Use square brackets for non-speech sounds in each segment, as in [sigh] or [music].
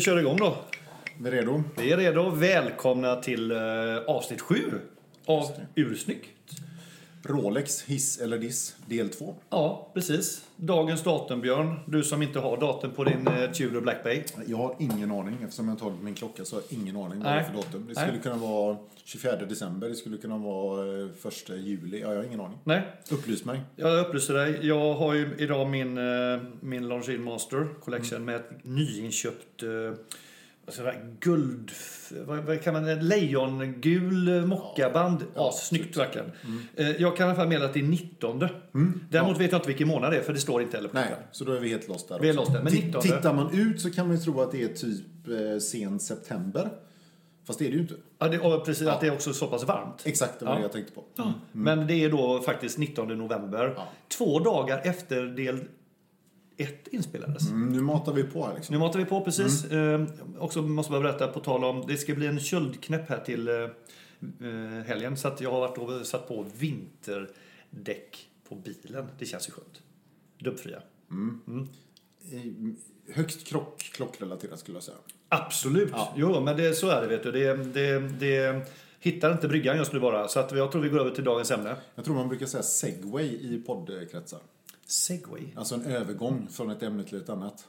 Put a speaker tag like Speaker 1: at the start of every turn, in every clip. Speaker 1: köra igång då.
Speaker 2: Vi är redo.
Speaker 1: Vi är redo. Välkomna till eh, avsnitt 7 av Ursnyggt.
Speaker 2: Rolex, hiss eller diss, del 2.
Speaker 1: Ja, precis. Dagens datum, Björn. Du som inte har datum på din eh, Tudor Black Bay.
Speaker 2: Jag har ingen aning, eftersom jag har tagit min klocka så har jag ingen aning vad det
Speaker 1: Nej.
Speaker 2: är för datum. Det
Speaker 1: Nej.
Speaker 2: skulle kunna vara 24 december, det skulle kunna vara eh, 1 juli. Ja, jag har ingen aning.
Speaker 1: Nej,
Speaker 2: Upplys mig.
Speaker 1: jag upplyser dig. Jag har ju idag min, eh, min Longines Master
Speaker 2: Mm.
Speaker 1: Collection med ett nyinköpt eh, vad ska jag säga, guld... Vad, vad kan man Lejongul eh, mockaband.
Speaker 2: Ja, Mm.
Speaker 1: Assnyggt verkligen. Eh, Jag kan i alla fall meddela att det är 19. Däremot vet jag inte vilken månad det är för det står inte heller på
Speaker 2: Nej, så då är vi helt lost där
Speaker 1: Vi är
Speaker 2: också.
Speaker 1: lost där, men
Speaker 2: Ti-
Speaker 1: 19.
Speaker 2: Tittar man ut så kan man ju tro att det är typ eh, sen september. Fast det är det ju inte.
Speaker 1: Ja, Mm. det, och precis, att det är också så pass varmt.
Speaker 2: Exakt, det var
Speaker 1: Ja.
Speaker 2: det jag tänkte på.
Speaker 1: Men det är då faktiskt 19 november.
Speaker 2: Ja.
Speaker 1: Två dagar efter del 1 inspelades.
Speaker 2: Mm, nu matar vi på här liksom.
Speaker 1: Nu matar vi på precis. Eh, också måste jag berätta på tal om, det ska bli en köldknäpp här till eh, eh, helgen. Så att jag har varit och satt på vinterdäck på bilen. Det känns ju skönt. Dubbfria.
Speaker 2: Eh, Högst krock, klockrelaterat skulle jag säga.
Speaker 1: Absolut.
Speaker 2: Ja.
Speaker 1: Jo, men det, så är det vet du. Det, det, det hittar inte bryggan just nu bara. Så att jag tror vi går över till dagens ämne.
Speaker 2: Jag tror man brukar säga segway i poddkretsar.
Speaker 1: Segway.
Speaker 2: Alltså en övergång från ett ämne till ett annat.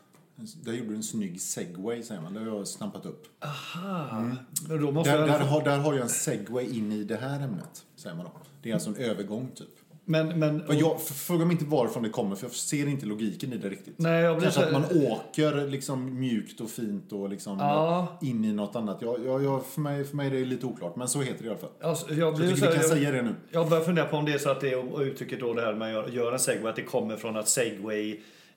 Speaker 2: Där gjorde du en snygg segway säger man. Det har jag snappat upp.
Speaker 1: Aha. Men Då måste
Speaker 2: Där,
Speaker 1: jag...
Speaker 2: där, har, där har jag en segway in i det här ämnet. Säger man då. Det är alltså en övergång typ.
Speaker 1: Mm. Men, men...
Speaker 2: Men Jag, f- fråga mig inte varifrån det kommer för jag ser inte logiken i det riktigt.
Speaker 1: Nej, jag blir
Speaker 2: Kanske att
Speaker 1: så...
Speaker 2: man åker liksom mjukt och fint och liksom
Speaker 1: Ja.
Speaker 2: in i något annat. Jag, jag, jag, för, mig, för mig är det lite oklart men så heter det i alla fall.
Speaker 1: Alltså, jag
Speaker 2: Jag
Speaker 1: blir
Speaker 2: tycker
Speaker 1: så
Speaker 2: vi
Speaker 1: här,
Speaker 2: kan
Speaker 1: jag,
Speaker 2: säga det nu.
Speaker 1: jag börjar fundera på om det är så att det är uttrycket då det här med att göra en segway, att det kommer från att segway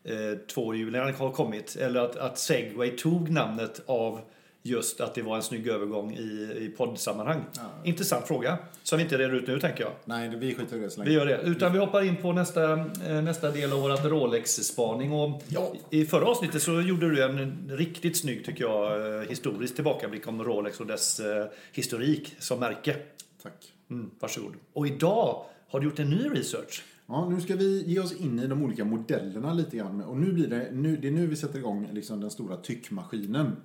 Speaker 1: eh, tvåhjulingarna har kommit. Eller att, att segway tog namnet av just att det var en snygg övergång i, i poddsammanhang. Intressant fråga, som vi inte reder ut nu tänker jag.
Speaker 2: Nej, det- vi skiter i det så
Speaker 1: Vi
Speaker 2: länge.
Speaker 1: gör det. Utan vi hoppar in på nästa, eh, nästa del av vårt Rolex-spaning. Och
Speaker 2: Ja.
Speaker 1: I förra avsnittet så gjorde du en riktigt snygg, tycker jag, eh, historisk tillbakablick om Rolex och dess eh, historik som märke.
Speaker 2: Tack.
Speaker 1: Mm, varsågod. Och idag har du gjort en ny research.
Speaker 2: Ja, nu ska vi ge oss in i de olika modellerna lite grann. Och nu blir det, nu, det är nu vi sätter igång liksom den stora tyckmaskinen.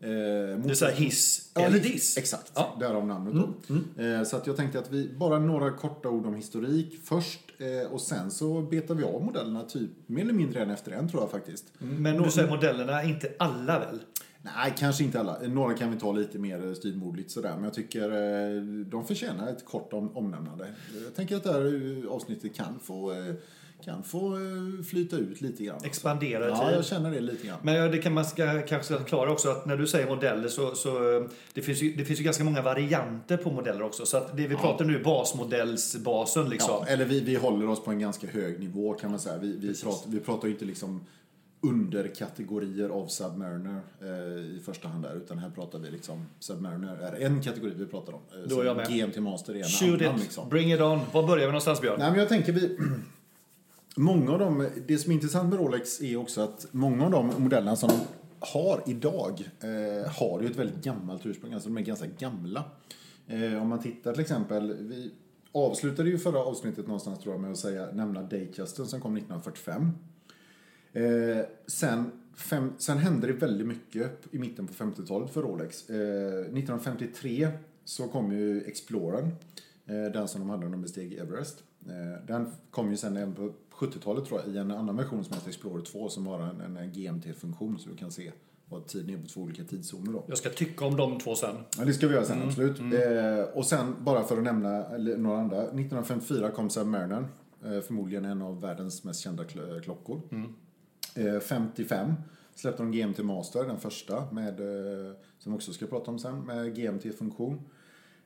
Speaker 2: Eh,
Speaker 1: Det är
Speaker 2: mot-
Speaker 1: så här hiss
Speaker 2: Ja,
Speaker 1: eller
Speaker 2: hiss.
Speaker 1: diss.
Speaker 2: Exakt,
Speaker 1: Ja.
Speaker 2: därav namnet då. Eh, så att jag tänkte att vi, bara några korta ord om historik först. Eh, och sen så betar vi av modellerna typ mer eller mindre en efter en tror jag faktiskt.
Speaker 1: Men du
Speaker 2: Mm.
Speaker 1: säger modellerna, inte alla väl?
Speaker 2: Nej, kanske inte alla. Några kan vi ta lite mer styvmoderligt sådär. Men jag tycker eh, de förtjänar ett kort om, omnämnande. Jag tänker att det här eh, avsnittet kan få, eh, kan få eh, flyta ut lite grann.
Speaker 1: Expandera i
Speaker 2: Ja,
Speaker 1: tid.
Speaker 2: jag känner det lite grann.
Speaker 1: Men ja, det kan man ska, kanske ska klara också att när du säger modeller så, så eh, det finns ju, det finns ju ganska många varianter på modeller också. Så att det vi pratar nu är basmodellsbasen liksom.
Speaker 2: Ja, eller vi, vi håller oss på en ganska hög nivå kan man säga. Vi, vi, pratar, vi pratar ju inte liksom underkategorier av Submariner eh, i första hand där. Utan här pratar vi liksom Submariner är en kategori vi pratar om. Eh,
Speaker 1: Då är
Speaker 2: sen
Speaker 1: jag med.
Speaker 2: GMT Master är en
Speaker 1: Shoot
Speaker 2: annan
Speaker 1: it,
Speaker 2: liksom.
Speaker 1: bring it on. Var börjar vi någonstans Björn?
Speaker 2: Nej men jag tänker vi... [clears throat] Många av dem, det som är intressant med Rolex är också att många av de modellerna som de har idag eh, har ju ett väldigt gammalt ursprung, alltså de är ganska gamla. Eh, om man tittar till exempel, vi avslutade ju förra avsnittet någonstans tror jag med att säga, nämna Daycasten som kom 1945. Eh, sen, fem, sen hände det väldigt mycket i mitten på 50-talet för Rolex. Eh, 1953 så kom ju Explorern, eh, den som de hade när de besteg Everest. Eh, den kom ju sen även på 70-talet tror jag i en annan version som heter Explorer 2 som har en, en GMT-funktion så du kan se vad tiden är på två olika tidszoner då.
Speaker 1: Jag ska tycka om de två sen.
Speaker 2: Ja, det ska vi göra sen,
Speaker 1: Mm.
Speaker 2: absolut. Eh, och sen, bara för att nämna eller några andra. 1954 kom Submariner. Eh, förmodligen en av världens mest kända kl- klockor.
Speaker 1: Mm.
Speaker 2: Eh, 55 släppte de GMT Master, den första, med, eh, som vi också ska prata om sen, med GMT-funktion.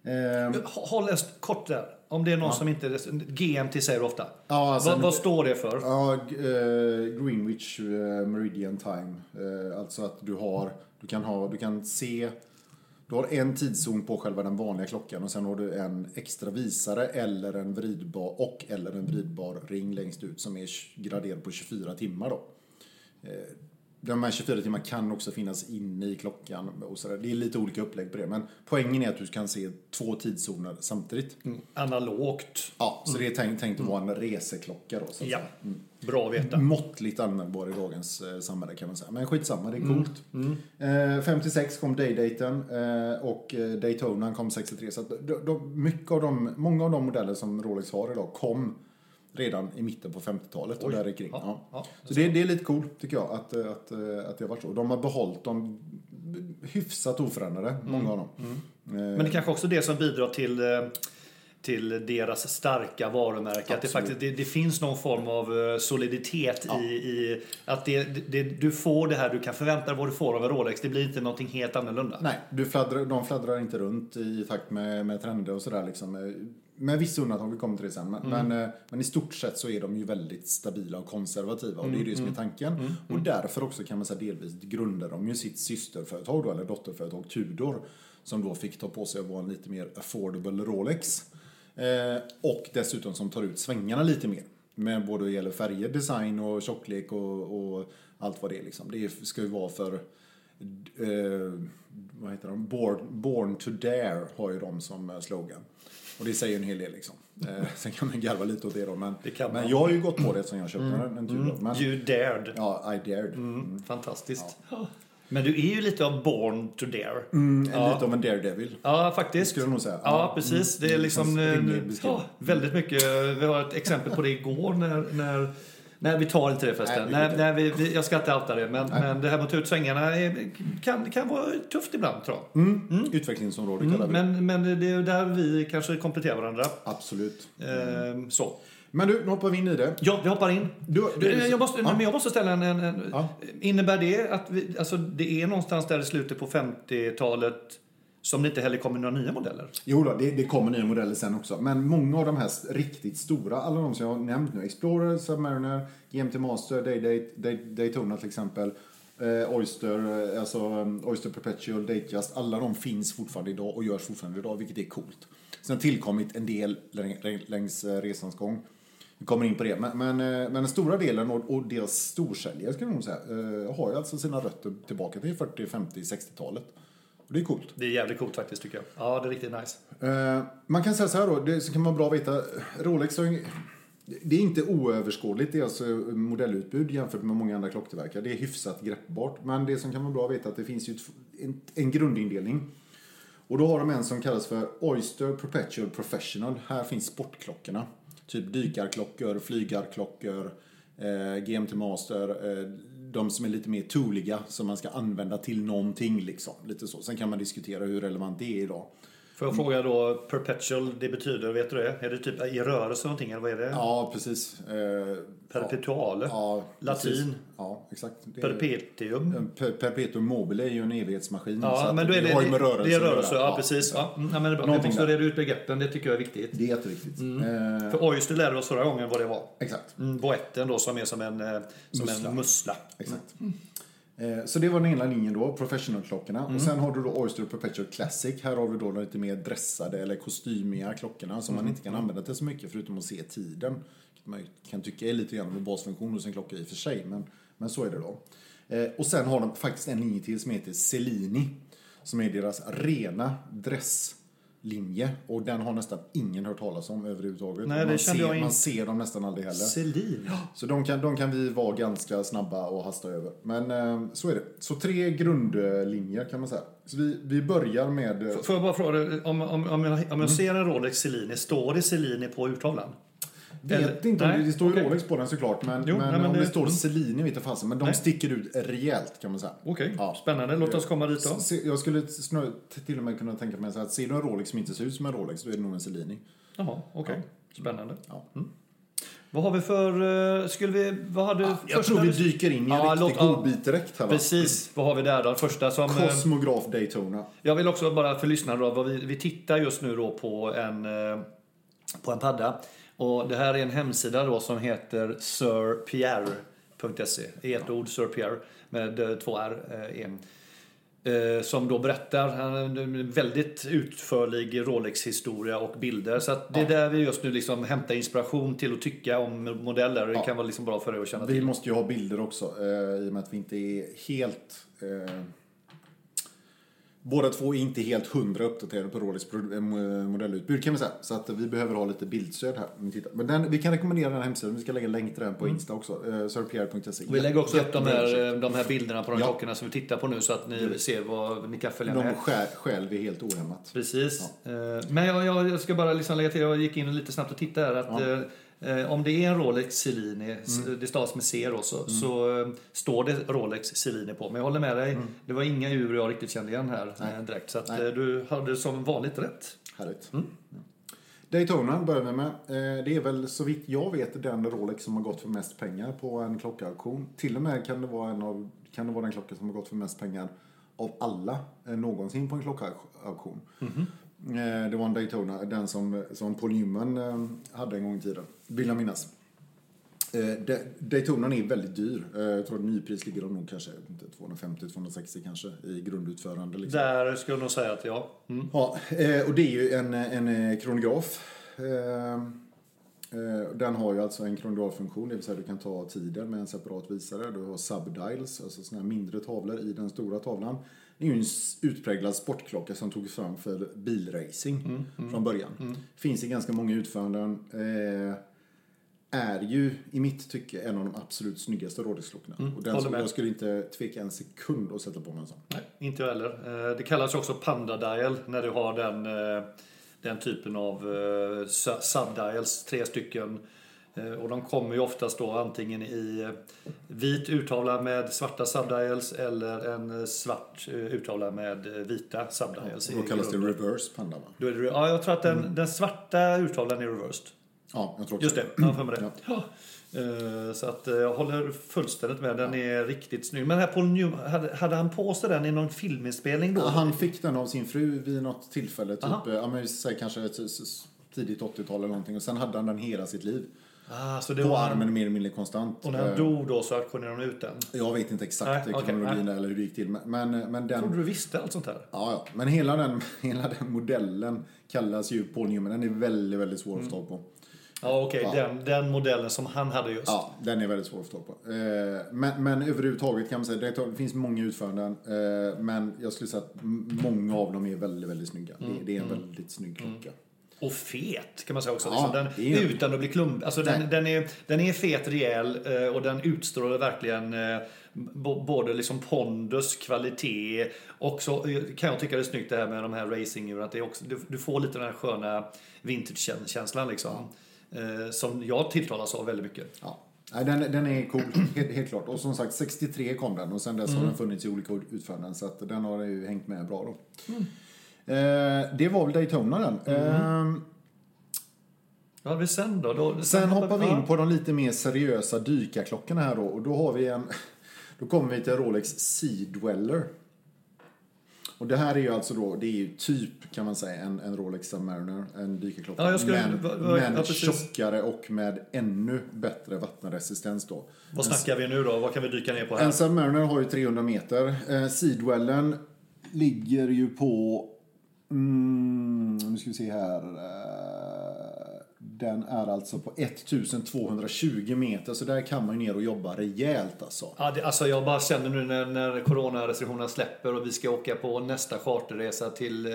Speaker 2: Eh,
Speaker 1: H- Håll en st- kort där. Om det är någon som inte... GMT säger du ofta.
Speaker 2: ja, alltså,
Speaker 1: vad, vad står det för?
Speaker 2: Ja, g- eh, Greenwich eh, Meridian Time. Eh, alltså att du har, du kan ha, du kan se, du har en tidszon på själva den vanliga klockan och sen har du en extra visare eller en vridbar och eller en vridbar ring längst ut som är tj- graderad på 24 timmar då. Eh, De här 24 timmarna kan också finnas inne i klockan och sådär. Det är lite olika upplägg på det. Men poängen är att du kan se två tidszoner samtidigt.
Speaker 1: Analogt.
Speaker 2: Ja, så det är tänkt, tänkt att vara en reseklocka då. Så att
Speaker 1: Ja.
Speaker 2: säga. Mm.
Speaker 1: Bra att veta.
Speaker 2: Måttligt användbar i dagens eh, samhälle kan man säga. Men skitsamma, det är coolt. Eh, 56 kom Day-daten eh, och eh, Daytonan kom 63. Så att de, de, mycket av de, många av de modeller som Rolex har idag kom redan i mitten på 50-talet och
Speaker 1: Oj.
Speaker 2: där kring.
Speaker 1: Ja,
Speaker 2: Ja.
Speaker 1: ja.
Speaker 2: Så det, det är lite coolt tycker jag att, eh, att, eh, att det har varit så. De har behållit dem hyfsat oförändrade, många av dem. Eh,
Speaker 1: Men det kanske också är det som bidrar till, eh, till deras starka varumärke. Att det,
Speaker 2: Absolut.
Speaker 1: faktiskt, det, det finns någon form av eh, soliditet i, i att det, det, du får det här du kan förvänta dig vad du får av en Rolex. Det blir inte någonting helt annorlunda.
Speaker 2: Nej, du fladdrar, de fladdrar inte runt i takt med, med trender och sådär. Liksom. Eh, Med vissa undantag, vi kommer till det sen. Men, men, eh, men i stort sett så är de ju väldigt stabila och konservativa. Och det är ju det som är tanken. Och därför också kan man säga delvis grundar de ju sitt systerföretag då, eller dotterföretag Tudor. Som då fick ta på sig att vara en lite mer affordable Rolex. Eh, och dessutom som tar ut svängarna lite mer. Med både vad gäller färger, design och tjocklek och, och allt vad det är. Liksom. Det ska ju vara för eh, vad heter de? Born, born to dare har ju de som eh, slogan. Och det säger en hel del liksom. Eh, sen kan man garva lite åt det då. Men,
Speaker 1: Det kan
Speaker 2: men
Speaker 1: man.
Speaker 2: jag har ju gått på det som jag köpte den. en tur då. Men,
Speaker 1: You dared.
Speaker 2: ja, I dared.
Speaker 1: Mm. Fantastiskt. Men du är ju lite av born to dare.
Speaker 2: Mm, en Lite av en daredevil.
Speaker 1: Ja, faktiskt.
Speaker 2: skulle jag nog säga.
Speaker 1: Ja, precis. Det är
Speaker 2: Det
Speaker 1: liksom
Speaker 2: känns rimlig
Speaker 1: eh,
Speaker 2: beskrivning.
Speaker 1: ja, väldigt mycket. Vi har ett exempel på det igår när... när Nej, vi tar inte det förresten.
Speaker 2: Nej, vi
Speaker 1: Nej,
Speaker 2: skiter
Speaker 1: nej, vi, vi, jag ska inte outa det. Men, men det här med att ta ut svängarna är, kan, kan vara tufft ibland, tror jag.
Speaker 2: Mm. Utvecklingsområde kallar vi det.
Speaker 1: Mm, Men, men det är ju där vi kanske kompletterar varandra.
Speaker 2: Absolut.
Speaker 1: Ehm, så.
Speaker 2: Men du, nu hoppar vi in i det.
Speaker 1: Ja, vi hoppar in.
Speaker 2: Du- du-
Speaker 1: Eh, jag, måste, men jag måste ställa en... en, en
Speaker 2: Ja.
Speaker 1: Innebär det att vi, alltså, det är någonstans där i slutet på 50-talet som det inte heller kommer några nya modeller?
Speaker 2: Jo då, det, det kommer nya modeller sen också. Men många av de här riktigt stora, alla de som jag har nämnt nu, Explorer, Submariner, GMT Master, Day, Day, Day, Daytona till exempel, eh, Oyster, eh, alltså eh, Oyster Perpetual, Datejust, alla de finns fortfarande idag och görs fortfarande idag, vilket är coolt. Sen har tillkommit en del läng- läng- längs eh, resans gång. Vi kommer in på det. Men, men, eh, men den stora delen och, och deras storsäljare skulle jag nog säga, eh, har ju alltså sina rötter tillbaka till 40, 50, 60-talet. Och det är coolt.
Speaker 1: Det är jävligt coolt faktiskt tycker jag. Ja, det är riktigt nice.
Speaker 2: Eh, man kan säga så här då, det så kan vara bra att veta. Rolex har ju- det är inte oöverskådligt deras eh, modellutbud jämfört med många andra klocktillverkare. Det är hyfsat greppbart. Men det som kan vara bra att veta är att det finns ju ett- en, en grundindelning. Och då har de en som kallas för Oyster Perpetual Professional. Här finns sportklockorna. Typ dykarklockor, flygarklockor, eh, GMT Master. Eh, de som är lite mer tooliga som man ska använda till någonting liksom. Lite så. Sen kan man diskutera hur relevant det är idag.
Speaker 1: Får jag fråga då, perpetual, det betyder, vet du det? Är det typ i rörelse någonting eller vad är det?
Speaker 2: Ja, precis. Eh,
Speaker 1: Perpetuale?
Speaker 2: ja,
Speaker 1: Latin.
Speaker 2: precis. Ja, exakt. Det är-
Speaker 1: Perpetuum?
Speaker 2: en per- Perpetuum mobile är ju en evighetsmaskin. så
Speaker 1: Ja,
Speaker 2: att
Speaker 1: men då är det, e-
Speaker 2: har ju med rörelse
Speaker 1: det är
Speaker 2: att göra.
Speaker 1: rörelse. Ja, precis. Ja, mm, ja, men det är bra. Vi
Speaker 2: Någonting
Speaker 1: måste
Speaker 2: där.
Speaker 1: reda ut begreppen, det tycker jag är viktigt.
Speaker 2: Det är jätteviktigt.
Speaker 1: Mm.
Speaker 2: Eh,
Speaker 1: För Oyster lärde oss förra gången vad det var.
Speaker 2: exakt.
Speaker 1: Mm, boetten då som är som en, eh, som
Speaker 2: Mussla.
Speaker 1: en mussla.
Speaker 2: Exakt. Eh, Så det var den ena linjen då, professional-klockorna.
Speaker 1: Mm.
Speaker 2: Och sen har du då Oyster Perpetual Classic. Här har vi då de lite mer dressade eller kostymiga klockorna som man
Speaker 1: Mm.
Speaker 2: inte kan använda till så mycket förutom att se tiden. Vilket man ju kan tycka är lite grann av en basfunktion hos en klocka i och för sig, men, men så är det då. Eh, Och sen har de faktiskt en linje till som heter Celini. Som är deras rena dresslinje. Och den har nästan ingen hört talas om överhuvudtaget.
Speaker 1: Nej,
Speaker 2: Och
Speaker 1: det
Speaker 2: man,
Speaker 1: kände
Speaker 2: ser,
Speaker 1: jag in-
Speaker 2: man ser dem nästan aldrig heller.
Speaker 1: Celine.
Speaker 2: Så de kan, de kan vi vara ganska snabba och hasta över. Men eh, så är det. Så tre grundlinjer kan man säga. Så vi, vi börjar med... eh,
Speaker 1: Får jag bara fråga, dig, om, om, om, jag, om jag ser en Rolex Celine, står det Celine på urtavlan?
Speaker 2: Vet
Speaker 1: eller-
Speaker 2: inte om det,
Speaker 1: nej,
Speaker 2: det står ju
Speaker 1: okej.
Speaker 2: Rolex på den såklart. Men,
Speaker 1: Jo,
Speaker 2: men,
Speaker 1: nej, men
Speaker 2: om det,
Speaker 1: det-
Speaker 2: står
Speaker 1: mm.
Speaker 2: Celine vet jag fasen. Men de
Speaker 1: Nej.
Speaker 2: sticker ut rejält kan man säga.
Speaker 1: Okej,
Speaker 2: Ja.
Speaker 1: spännande. Låt oss komma dit då.
Speaker 2: Se- Jag skulle snö, till och med kunna tänka mig så här att ser du en Rolex som inte ser ut som en Rolex, då är det nog en Celine.
Speaker 1: Jaha, okej. Spännande.
Speaker 2: Ja.
Speaker 1: Vad har vi för... eh, Skulle vi... Vad hade
Speaker 2: Jag tror vi dyker in i en
Speaker 1: Ja,
Speaker 2: riktig
Speaker 1: låt- ja.
Speaker 2: godbit direkt här va?
Speaker 1: Precis. Vad har vi där då? Första som... eh,
Speaker 2: Kosmograf Daytona.
Speaker 1: Jag vill också bara för lyssnarna då, vad vi, vi tittar just nu då på en, eh, på en padda. Och det här är en hemsida då som heter sirpierre.se. I ett ord, sirpierre, med eh, två r. Eh, e. Eh, som då berättar han har en väldigt utförlig Rolex-historia och bilder. Så att det är där vi just nu liksom hämtar inspiration till att tycka om modeller. Det kan vara liksom bra för dig att känna
Speaker 2: Vi
Speaker 1: till.
Speaker 2: måste ju ha bilder också eh, i och med att vi inte är helt eh, Båda två är inte helt hundra uppdaterade på Rolex pro- eh, modellutbud kan vi säga. Så att vi behöver ha lite bildstöd här. Men titta. Men den, vi kan rekommendera den här hemsidan. Vi ska lägga en länk till den på Insta också. Eh, sirpierre.se.
Speaker 1: Mm. Vi lägger också upp de
Speaker 2: Jättebra ursäkt.
Speaker 1: här, eh, de här bilderna på de
Speaker 2: Ja. Mm.
Speaker 1: klockorna som vi tittar på nu så att ni ser vad ni kan följa
Speaker 2: De
Speaker 1: med.
Speaker 2: stjäl, stjäl vi helt ohämmat.
Speaker 1: Precis. Eh, Men jag, jag, jag ska bara liksom lägga till, jag gick in lite snabbt och tittade här att eh, eh, om det är en Rolex
Speaker 2: Mm.
Speaker 1: Celine, s- det stavas med C då, så, så eh, står det Rolex Celine på. Men jag håller med dig, det var inga ur jag riktigt kände igen här eh, direkt. Så att
Speaker 2: Mm. Nej.
Speaker 1: eh, du hade som vanligt rätt.
Speaker 2: Härligt. Daytona börjar vi med. Eh, Det är väl så vitt jag vet den Rolex som har gått för mest pengar på en klockauktion. Till och med kan det vara, en av, kan det vara den klocka som har gått för mest pengar av alla eh, någonsin på en klockauktion. Eh, Det var en Daytona, den som, som Paul Newman eh, hade en gång i tiden, vill jag minnas. Eh, Da- Daytonan är väldigt dyr. Eh, Jag tror att nypris ligger om nog kanske 250-260 kanske i grundutförande. Liksom.
Speaker 1: Där skulle jag nog säga att ja. Mm.
Speaker 2: Ja, eh, och det är ju en, en eh, kronograf. Eh, eh, Den har ju alltså en kronograffunktion, det vill säga du kan ta tiden med en separat visare. Du har subdials, alltså såna här mindre tavlor i den stora tavlan. Det är ju en s- utpräglad sportklocka som togs fram för bilracing
Speaker 1: Mm,
Speaker 2: från början. Finns i ganska många utföranden. Eh, är ju i mitt tycke en av de absolut snyggaste rådisklockorna. och den
Speaker 1: Mm, håller
Speaker 2: som
Speaker 1: med.
Speaker 2: jag skulle inte tveka en sekund att sätta på mig en sån.
Speaker 1: Nej, inte jag heller. Eh, Det kallas ju också Panda Dial när du har den, eh, den typen av eh, su- subdials, tre stycken. Eh, Och de kommer ju oftast då antingen i eh, vit urtavla med svarta subdials eller en eh, svart eh, urtavla med eh, vita subdials. i
Speaker 2: Då kallas det Mm.
Speaker 1: grunden.
Speaker 2: reverse panda va?
Speaker 1: Då är det, ja, jag tror att den, den svarta urtavlan är reversed.
Speaker 2: Ja, jag tror också
Speaker 1: Just det, jag har för mig det. Ja. Eh, Så att eh, jag håller fullständigt med. Den är riktigt snygg. Men här Paul Newman, hade, hade han på sig den i någon filminspelning då?
Speaker 2: Ja, han fick den av sin fru vid något tillfälle, typ,
Speaker 1: Aha.
Speaker 2: eh, ja, men, säg kanske ett- ett- ett tidigt 80-tal eller någonting. Och sen hade han den hela sitt liv.
Speaker 1: Ah, så det
Speaker 2: På
Speaker 1: var
Speaker 2: armen mer eller mindre konstant.
Speaker 1: Och när han
Speaker 2: Eh,
Speaker 1: dog då så auktionerade de ut den.
Speaker 2: Jag vet inte exakt
Speaker 1: Nej,
Speaker 2: eh,
Speaker 1: okej,
Speaker 2: kronologin eller hur det gick till. men- Men, eh, men den...
Speaker 1: Trodde du visste allt sånt här?
Speaker 2: Ja, ja. Men hela den, [laughs] hela den modellen kallas ju Paul Newman. Den är väldigt, väldigt svår
Speaker 1: Mm.
Speaker 2: att få tag på.
Speaker 1: Ja okej, den, den modellen som han hade just.
Speaker 2: Ja, den är väldigt svår att få tag på. Eh, Men, men överhuvudtaget kan man säga, det tar- det finns många utföranden. eh, Men jag skulle säga att m- många av dem är väldigt, väldigt snygga.
Speaker 1: Mm.
Speaker 2: Det, det är en väldigt snygg klocka.
Speaker 1: Och fet kan man säga också.
Speaker 2: Ja,
Speaker 1: liksom. den,
Speaker 2: det är-
Speaker 1: Utan att bli klump. Alltså,
Speaker 2: Nej.
Speaker 1: den, den, är, den är fet, rejäl eh, och den utstrålar verkligen eh, bo- både liksom pondus, kvalitet och så eh, kan jag tycka det är snyggt det här med de här racinguren. Att det är också, du, du får lite den här sköna vintage-känslan liksom. Eh, som jag tilltalas av väldigt mycket.
Speaker 2: Ja. Nej, den, den är cool, helt, helt klart. Och som sagt, 63 kom den och sen dess
Speaker 1: Mm.
Speaker 2: har den funnits i olika utföranden. Så att den har ju hängt med bra då.
Speaker 1: Mm.
Speaker 2: Eh, det var väl Daytona den. Eh,
Speaker 1: Vad hade vi sen då? då
Speaker 2: sen hoppar vi in
Speaker 1: Ja.
Speaker 2: på de lite mer seriösa dykarklockorna här då. Och då har vi en... Då kommer vi till Rolex Sea Dweller. Och det här är ju alltså då, det är ju typ kan man säga en, en Rolex Submariner, en dykarklocka.
Speaker 1: Ja, jag skulle-
Speaker 2: men
Speaker 1: va- va-
Speaker 2: men
Speaker 1: ja, precis.
Speaker 2: tjockare och med ännu bättre vattenresistens då.
Speaker 1: Vad snackar vi nu då? Vad kan vi dyka ner på här?
Speaker 2: En Submariner har ju 300 meter. Eh, Sidwellen ligger ju på... Mm, nu ska vi se här. Eh, den är alltså på 1220 meter, så där kan man ju ner och jobba rejält alltså.
Speaker 1: Ja, det, alltså jag bara känner nu när, när coronarestriktionerna släpper och vi ska åka på nästa charterresa till eh,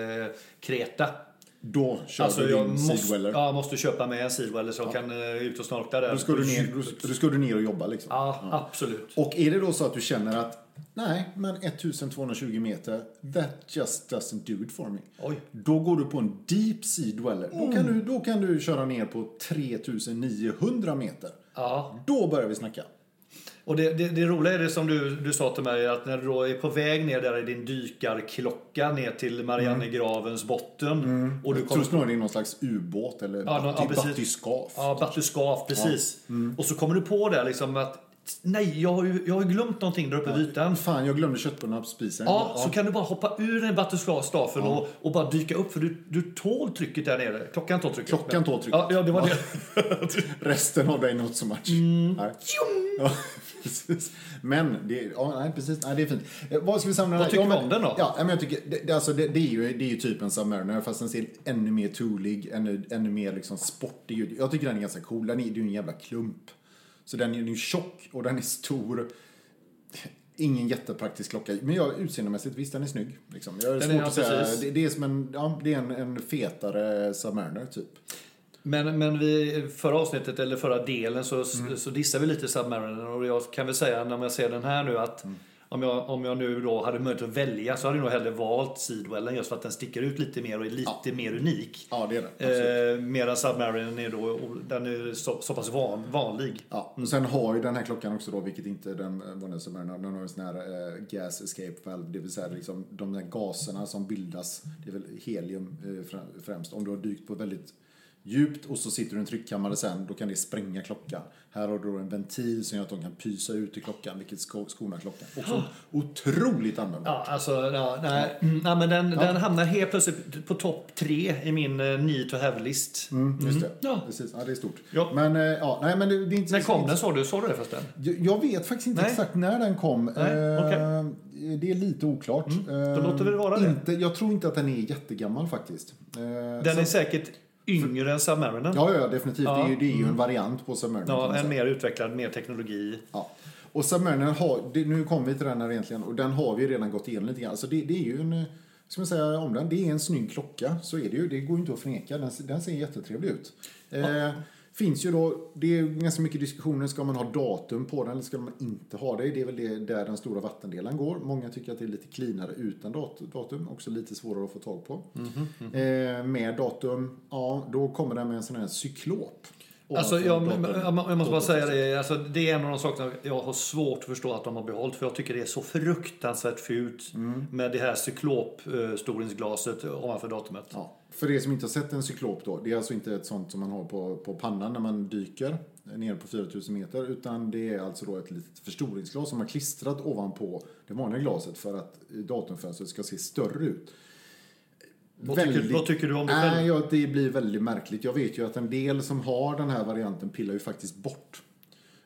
Speaker 1: Kreta.
Speaker 2: Då kör
Speaker 1: Alltså
Speaker 2: du
Speaker 1: jag
Speaker 2: din
Speaker 1: måste,
Speaker 2: Sidweller.
Speaker 1: ja, jag måste köpa med en Sidweller så jag kan eh, ut och snorkla där.
Speaker 2: Då, ska du ner, då, då ska du ner och jobba liksom.
Speaker 1: Ja, absolut.
Speaker 2: Och är det då så att du känner att nej, men 1220 meter, that just doesn't do it for me.
Speaker 1: Oj.
Speaker 2: Då går du på en deep sea dweller. Då,
Speaker 1: Mm.
Speaker 2: kan du, då kan du köra ner på 3900 meter.
Speaker 1: Ja.
Speaker 2: Då börjar vi snacka.
Speaker 1: Och det, det, det roliga är det som du, du sa till mig att när du då är på väg ner där i din dykarklocka ner till Mariannegravens
Speaker 2: Mm.
Speaker 1: botten och du
Speaker 2: Jag
Speaker 1: kommer
Speaker 2: tror snarare det är någon slags ubåt eller
Speaker 1: Ja, nå- ja,
Speaker 2: batti-
Speaker 1: precis.
Speaker 2: battyskaf.
Speaker 1: Ja, Batuskaf, precis.
Speaker 2: Mm.
Speaker 1: Och så kommer du på det liksom att nej, jag har ju jag har ju glömt någonting där uppe vid ytan.
Speaker 2: Fan, jag glömde köttbullarna på spisen.
Speaker 1: Ja, så kan du bara hoppa ur den batuskastafen och, och bara dyka upp för du, du tål trycket där nere. Klockan tål trycket.
Speaker 2: Klockan tål trycket.
Speaker 1: Ja, ja det var det.
Speaker 2: Resten av dig not so much.
Speaker 1: Mm.
Speaker 2: Nej. Ja, [laughs] precis. Men, det, ja, nej, precis. Nej, det är fint. Eh, vad ska vi samla
Speaker 1: Vad tycker
Speaker 2: ja,
Speaker 1: du
Speaker 2: men,
Speaker 1: om den då?
Speaker 2: Ja, men jag tycker, det, det, alltså, det, det, är ju, det är ju typ en Submariner fast den ser ännu mer toolig, ännu, ännu mer liksom sportig ut. Jag tycker den är ganska cool. Den är, det är ju en jävla klump. Så den är den är ju tjock och den är stor. Ingen jättepraktisk klocka. Men jag utseendemässigt, visst den är snygg. Liksom. Jag är
Speaker 1: Den
Speaker 2: svårt
Speaker 1: är- ja,
Speaker 2: att säga.
Speaker 1: precis.
Speaker 2: Det, det är som en, ja, det är en, en fetare Submariner typ.
Speaker 1: Men, men vi, förra avsnittet, eller förra delen, så,
Speaker 2: Mm.
Speaker 1: så dissade vi lite Submariner. Och jag kan väl säga när jag ser den här nu att
Speaker 2: Mm.
Speaker 1: om, jag, om jag nu då hade möjlighet att välja så hade jag nog hellre valt Sidwellen just för att den sticker ut lite mer och är lite mer unik.
Speaker 2: Ja, det är den. absolut.
Speaker 1: Eh, medan Submarinen är då, och den är så, så pass van, vanlig.
Speaker 2: Ja, och sen har ju den här klockan också då, vilket inte den eh, vanliga Submariner, den har ju sån här eh, gas escape valve, det vill säga liksom de där gaserna som bildas, det är väl helium eh, frä- främst, om du har dykt på väldigt djupt och så sitter du i en tryckkammare sen, då kan det spränga klockan. Här har du då en ventil som gör att de kan pysa ut i klockan, vilket sko- skonar klockan. Också otroligt användbart.
Speaker 1: Ja, alltså, ja, nej, mm, nej, men den, den hamnar helt plötsligt på topp tre i min eh, need to have-list.
Speaker 2: Mm, Just det,
Speaker 1: ja.
Speaker 2: precis. Ja, det är stort.
Speaker 1: Ja.
Speaker 2: Men, eh, ja, nej, men det, det är inte
Speaker 1: När kom
Speaker 2: inte-
Speaker 1: den sa du? Såg du det förresten?
Speaker 2: Jag jag vet faktiskt inte
Speaker 1: Nej.
Speaker 2: exakt när den kom.
Speaker 1: Nej,
Speaker 2: Eh,
Speaker 1: okej. Mm.
Speaker 2: Det är lite oklart.
Speaker 1: då
Speaker 2: Eh,
Speaker 1: låter vi det vara det.
Speaker 2: inte, Jag tror inte att den är jättegammal faktiskt. Eh,
Speaker 1: Den
Speaker 2: så-
Speaker 1: är säkert yngre än Submarinen.
Speaker 2: Ja, ja, definitivt.
Speaker 1: Ja. Mm.
Speaker 2: Det är ju, det är ju en variant på Submariner. kan man
Speaker 1: Ja,
Speaker 2: säga.
Speaker 1: en mer utvecklad, mer teknologi.
Speaker 2: Ja. Och Submariner har, det, nu kommer vi till den här egentligen, och den har vi ju redan gått igenom lite grann. Alltså det, det är ju en, eh, ska man säga om den, det är en snygg klocka. Så är det ju, det går ju inte att förneka. Den, den ser jättetrevlig ut. Eh, finns ju då, det är ju ganska mycket diskussioner, ska man ha datum på den eller ska man inte ha det? Det är väl det, där den stora vattendelen går. Många tycker att det är lite cleanare utan dat- datum, också lite svårare att få tag på.
Speaker 1: Mm-hmm,
Speaker 2: Eh, med datum, ja då kommer den med en sån här cyklop.
Speaker 1: Alltså,
Speaker 2: Ovanför
Speaker 1: jag,
Speaker 2: datum.
Speaker 1: jag, jag måste bara
Speaker 2: Datum.
Speaker 1: säga det, alltså, det är en av de sakerna jag har svårt att förstå att de har behållit. För jag tycker det är så fruktansvärt fult med det här cyklopstoringsglaset ovanför datumet.
Speaker 2: Ja, för er som inte har sett en cyklop då, det är alltså inte ett sånt som man har på, på pannan när man dyker ner på 4000 meter, utan det är alltså då ett litet förstoringsglas som man klistrat ovanpå det vanliga glaset för att datumfönstret ska se större ut.
Speaker 1: Vad tycker- vad tycker du om det själv?
Speaker 2: Nej, ja, det blir väldigt märkligt. Jag vet ju att en del som har den här varianten pillar ju faktiskt bort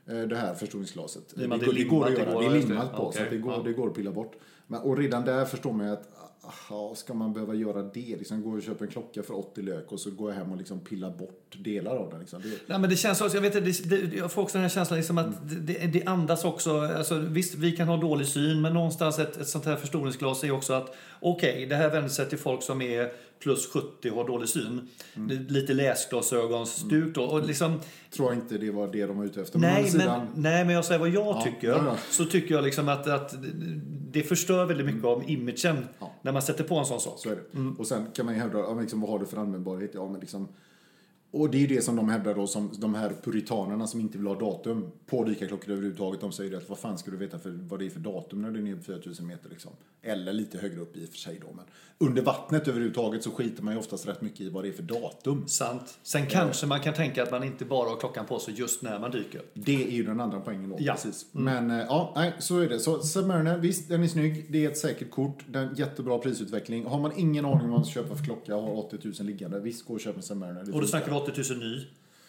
Speaker 2: eh, det här förstoringsglaset.
Speaker 1: I och med att
Speaker 2: går-
Speaker 1: det är
Speaker 2: går att
Speaker 1: limmat, det
Speaker 2: göra.
Speaker 1: går-
Speaker 2: Det är
Speaker 1: just det.
Speaker 2: limmat på så
Speaker 1: Okej,
Speaker 2: att det går,
Speaker 1: ja.
Speaker 2: det går att pilla bort. Men, och redan där förstår man ju att aha, ska man behöva göra det? Liksom, gå och köpa en klocka för 80 lök och så går jag hem och liksom pillar bort delar av den. Liksom. Det,
Speaker 1: Nej, men det känns också, jag, vet, inte, det, det, jag får också den här känslan liksom att
Speaker 2: Mm.
Speaker 1: det, det- det andas också. Alltså, visst, vi kan ha dålig syn, men någonstans ett, ett sånt här förstoringsglas är också att okej, det här vänder sig till folk som är plus 70 och har dålig syn.
Speaker 2: Mm.
Speaker 1: Det är Lite läsglasögonstuk då. Och liksom,
Speaker 2: tror jag inte det var det Mm. de var ute efter. Men å
Speaker 1: nej,
Speaker 2: andra sidan-
Speaker 1: men, nej, men jag säger vad jag tycker.
Speaker 2: ja, ja.
Speaker 1: Så tycker jag liksom att, att det förstör väldigt mycket av imagen
Speaker 2: Mm. Ja.
Speaker 1: när man sätter på en sån sak.
Speaker 2: Så är det. Och sen kan man ju hävda, ja, men liksom, vad har du för användbarhet? Ja, men liksom, och det är ju det som de hävdar då, som de här puritanerna som inte vill ha datum på dykarklockor överhuvudtaget. De säger ju att vad fan ska du veta för, vad det är för datum när du är nere på 4000 meter liksom. Eller lite högre upp i och för sig då. Men under vattnet överhuvudtaget så skiter man ju oftast rätt mycket i vad det är för datum.
Speaker 1: Sant. Sen kanske man kan tänka att man inte bara har klockan på sig just när man dyker.
Speaker 2: Det är ju den andra poängen då.
Speaker 1: Ja. Mm.
Speaker 2: Precis. Men eh, ja, nej, så är det. Så Submariner, visst den är snygg. Det är ett säkert kort. Den jättebra prisutveckling. Har man ingen aning om vad man ska köpa för klocka och har 80 000 liggande, visst gå och köp en Submariner. Det
Speaker 1: Och då
Speaker 2: funkar.
Speaker 1: snackar vi 80 000 ny.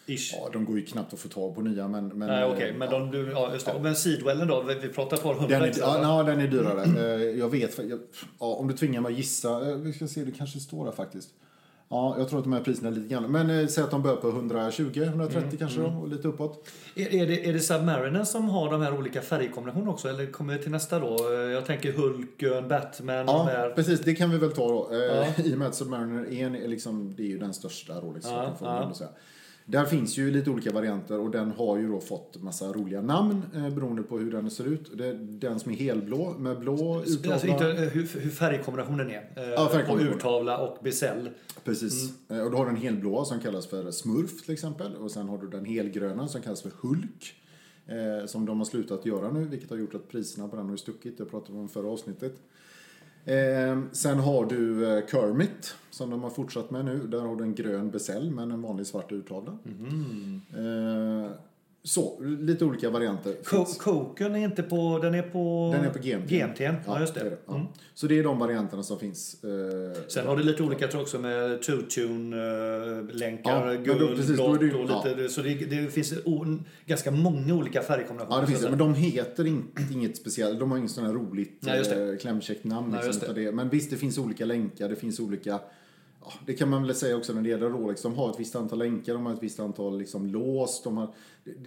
Speaker 1: Ish.
Speaker 2: Ja, de går ju knappt att få tag på nya, men... men
Speaker 1: Nej, okej.
Speaker 2: eh,
Speaker 1: men,
Speaker 2: ja.
Speaker 1: de, du- ja, just det. men Sidwellen då? Vi vi pratar ett par hundra
Speaker 2: Den är,
Speaker 1: extra,
Speaker 2: ja,
Speaker 1: va?
Speaker 2: ja, den är dyrare. Eh, Jag vet, jag, ja, om du tvingar mig att gissa, eh, vi ska se, det kanske står där faktiskt. Ja, jag tror att de här priserna är lite grann. Men eh, säg att de börjar på 120, 130
Speaker 1: Mm,
Speaker 2: kanske då, och lite uppåt.
Speaker 1: är, är, det, är det Submarinen som har de här olika färgkombinationerna också? Eller kommer det till nästa då? Eh, Jag tänker Hulken, Batman, de
Speaker 2: Ja,
Speaker 1: här.
Speaker 2: precis, det kan vi väl ta då. Eh,
Speaker 1: Ja.
Speaker 2: [laughs] I och med att Submariner är, en, är liksom, det är ju den största rolex
Speaker 1: Ja,
Speaker 2: får
Speaker 1: ja.
Speaker 2: man ändå säga. Där finns ju lite olika varianter och den har ju då fått massa roliga namn eh, beroende på hur den ser ut. Det, den som är helblå med blå uttavla.
Speaker 1: Alltså inte eh, hur, hur färgkombinationen är. Eh,
Speaker 2: Ja, färgkombinationen.
Speaker 1: Och urtavla och bezel.
Speaker 2: Precis.
Speaker 1: Mm.
Speaker 2: Eh, Och då har du den helblåa som kallas för Smurf till exempel. Och sen har du den helgröna som kallas för Hulk. Eh, som de har slutat göra nu, vilket har gjort att priserna på den har ju stuckit. Det pratade vi om i förra avsnittet. Eh, sen har du eh, Kermit, som de har fortsatt med nu. Där har du en grön besäll men en vanlig svart urtavla.
Speaker 1: Mm.
Speaker 2: Eh, så, lite olika varianter.
Speaker 1: Ko-
Speaker 2: finns.
Speaker 1: Koken är inte på... Den är på...
Speaker 2: Den är på GMT.
Speaker 1: GMT'n, Ja, just det. Mm.
Speaker 2: ja. Så det är de varianterna som finns. Eh,
Speaker 1: Sen har du lite olika tror jag också med
Speaker 2: Ja,
Speaker 1: two-tune-länkar,
Speaker 2: men då-
Speaker 1: guld,
Speaker 2: precis, då är
Speaker 1: blått
Speaker 2: det ju-
Speaker 1: och lite... Så det, det finns o, ganska många olika färgkombinationer.
Speaker 2: Ja, det finns
Speaker 1: så
Speaker 2: det.
Speaker 1: att
Speaker 2: Men de heter inte, inget speciellt. De har inget sånt här roligt
Speaker 1: Nej, just det.
Speaker 2: eh, klämkäckt namn.
Speaker 1: Nej,
Speaker 2: Liksom,
Speaker 1: just det.
Speaker 2: utan det. Men visst, det finns olika länkar. Det finns olika... ja, det kan man väl säga också när det gäller Rolex. De har ett visst antal länkar, de har ett visst antal liksom lås. De har,